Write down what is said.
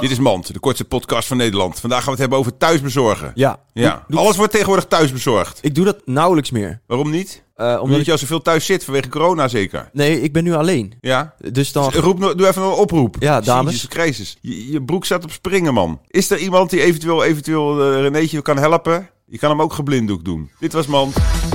Dit is Mand, de kortste podcast van Nederland. Vandaag gaan we het hebben over thuisbezorgen. Ja. Ja. Alles wordt tegenwoordig thuisbezorgd. Ik doe dat nauwelijks meer. Waarom niet? Eh, omdat Omdat je ik, al zoveel thuis zit, vanwege corona zeker. nee, ik ben nu alleen. Ja? Dus dan... Roep, no- doe even een oproep. Ja, dames. Jezus Christus. Je, je broek staat op springen, man. Is er iemand die eventueel, eventueel eh, Renéetje kan helpen? Je kan hem ook geblinddoek doen. Dit was Mand.